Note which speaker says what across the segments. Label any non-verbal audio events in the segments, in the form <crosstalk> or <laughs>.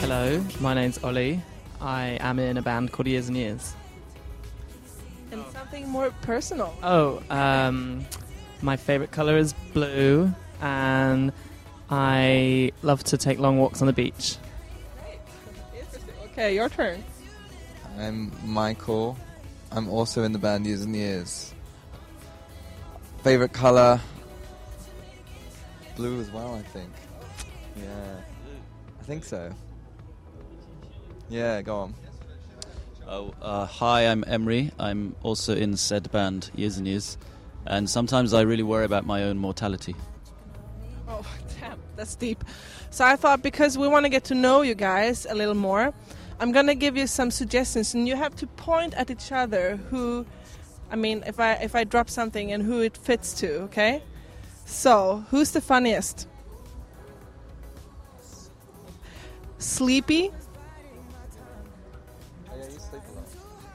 Speaker 1: Hello, my name's Ollie. I am in a band called Years and Years.
Speaker 2: And something more personal.
Speaker 1: Oh, um, my favourite colour is blue, and I love to take long walks on the beach.
Speaker 2: Okay, your turn.
Speaker 3: I'm Michael. I'm also in the band Years and Years. Favorite color? Blue as well, I think. Yeah. I think so. Yeah, go on.
Speaker 4: Oh, uh, hi, I'm Emery. I'm also in said band, Years and Years. And sometimes I really worry about my own mortality.
Speaker 2: Oh, <laughs> damn, that's deep. So I thought because we want to get to know you guys a little more, I'm gonna give you some suggestions, and you have to point at each other who, I mean, if I if I drop something and who it fits to. Okay. So who's the funniest? Sleepy.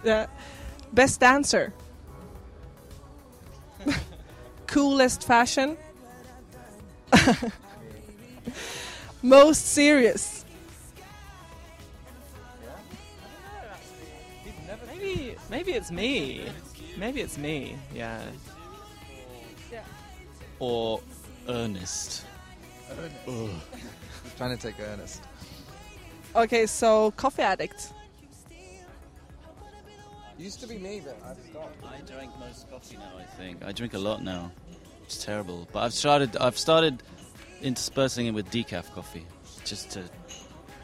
Speaker 2: The best dancer. <laughs> Coolest fashion. Most serious.
Speaker 1: Maybe, maybe it's me. Maybe it's me. Yeah.
Speaker 4: Or earnest.
Speaker 3: I'm trying to take Ernest.
Speaker 2: Okay, so coffee addict.
Speaker 3: Used to be me, but I've stopped.
Speaker 4: I drink most coffee now, I think. I drink a lot now. It's terrible. But I've started, I've started interspersing it with decaf coffee just to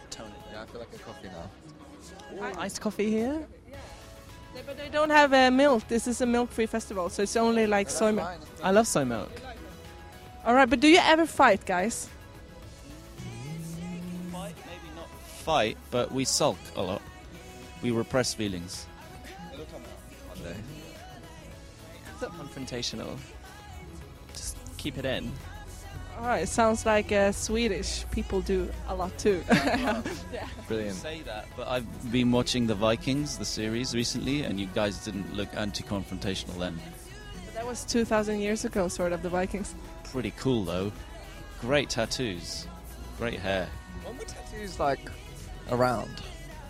Speaker 4: tone it down.
Speaker 3: Yeah, I feel like a coffee now.
Speaker 1: Iced coffee here.
Speaker 2: Yeah, but they don't have uh, milk. This is a milk-free festival, so it's only like soy milk.
Speaker 1: I love soy milk.
Speaker 2: All right, but do you ever fight, guys?
Speaker 4: Fight, maybe not fight, but we sulk a lot. We repress feelings.
Speaker 1: It's not confrontational. Just keep it in.
Speaker 2: All right, sounds like uh, Swedish people do a lot too. <laughs>
Speaker 3: Brilliant.
Speaker 4: Say that, but I've been watching The Vikings, the series, recently, and you guys didn't look anti confrontational then.
Speaker 2: that was 2,000 years ago, sort of the Vikings.
Speaker 4: Pretty cool though. Great tattoos. Great hair.
Speaker 3: When were tattoos like around?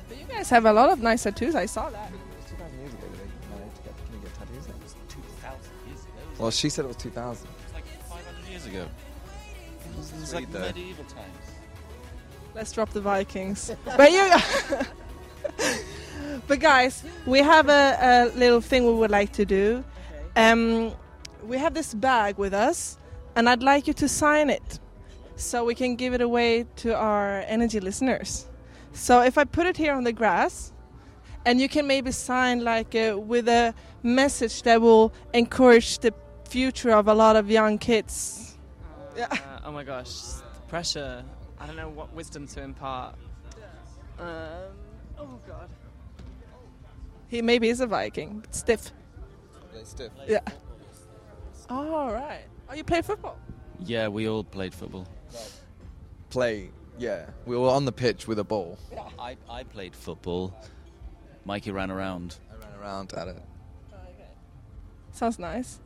Speaker 2: But you guys have a lot of nice tattoos. I saw that.
Speaker 3: 2,000 years ago, did they manage to get, can get tattoos? It was 2,000 years ago. Well, she said it was 2,000.
Speaker 4: Like 500 years ago. It's
Speaker 3: like
Speaker 4: like
Speaker 3: though.
Speaker 4: medieval times.
Speaker 2: Let's drop the Vikings. but you. <laughs> but guys, we have a, a little thing we would like to do. Um, we have this bag with us, and I'd like you to sign it, so we can give it away to our energy listeners. So if I put it here on the grass, and you can maybe sign like uh, with a message that will encourage the future of a lot of young kids. Yeah.
Speaker 1: Uh, oh my gosh, the pressure. I don't know what wisdom to impart.
Speaker 2: Um, oh God. He maybe is a Viking, but stiff.
Speaker 3: They stiff.
Speaker 2: Yeah. All right. Oh, you play football?
Speaker 4: Yeah, we all played football.
Speaker 3: Play, yeah. We were on the pitch with a ball.
Speaker 4: I, I played football. Mikey ran around.
Speaker 3: I ran around at it.
Speaker 2: Sounds nice.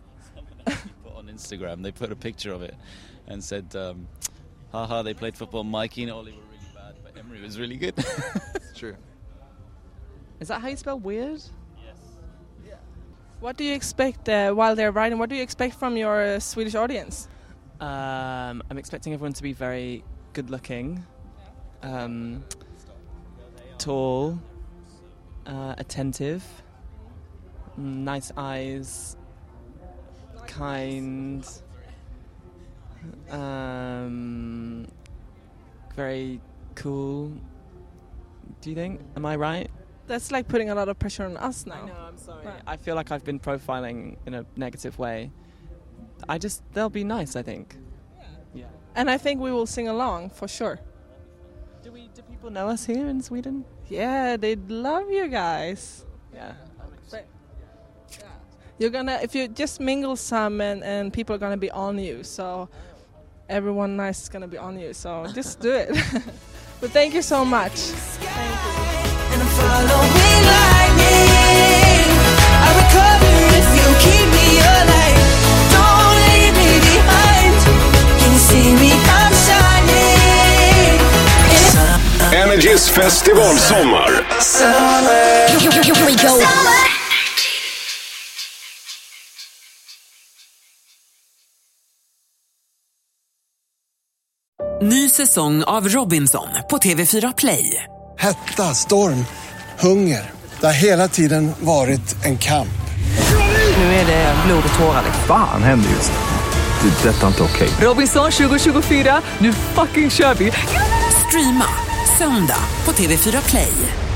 Speaker 4: Put on Instagram, they put a picture of it and said, um, haha, they played football. Mikey and Ollie were really bad, but Emery was really good. <laughs>
Speaker 3: It's true.
Speaker 1: Is that how you spell weird?
Speaker 2: What do you expect uh, while they're riding? What do you expect from your uh, Swedish audience?
Speaker 1: Um, I'm expecting everyone to be very good looking, um, tall, uh, attentive, mm, nice eyes, kind, um, very cool. Do you think? Am I right?
Speaker 2: That's like putting a lot of pressure on us now.
Speaker 1: I'm sorry. I feel like I've been profiling in a negative way. I just, they'll be nice, I think. yeah.
Speaker 2: And I think we will sing along for sure.
Speaker 1: Do we? Do people know us here in Sweden?
Speaker 2: Yeah, they'd love you guys.
Speaker 1: Yeah.
Speaker 2: You're gonna if you just mingle some and, and people are gonna be on you. So everyone nice is gonna be on you. So just do it. <laughs> but thank you so much.
Speaker 5: And I'm following lightning. I recover if you keep me alive. Don't leave me behind. Can you see me? I'm shining. In
Speaker 6: Energys festivalsommar.
Speaker 5: summer. Here we go. Summer.
Speaker 7: Ny säsong av Robinson på TV4 Play.
Speaker 8: Hetta, storm, hunger. Det har hela tiden varit en kamp.
Speaker 7: Nu är det blod och tårar.
Speaker 9: Fan händer just nu. Det. är Detta är inte okej.
Speaker 7: Robinson 2024, nu fucking kör vi! Streama söndag på TV4 Play.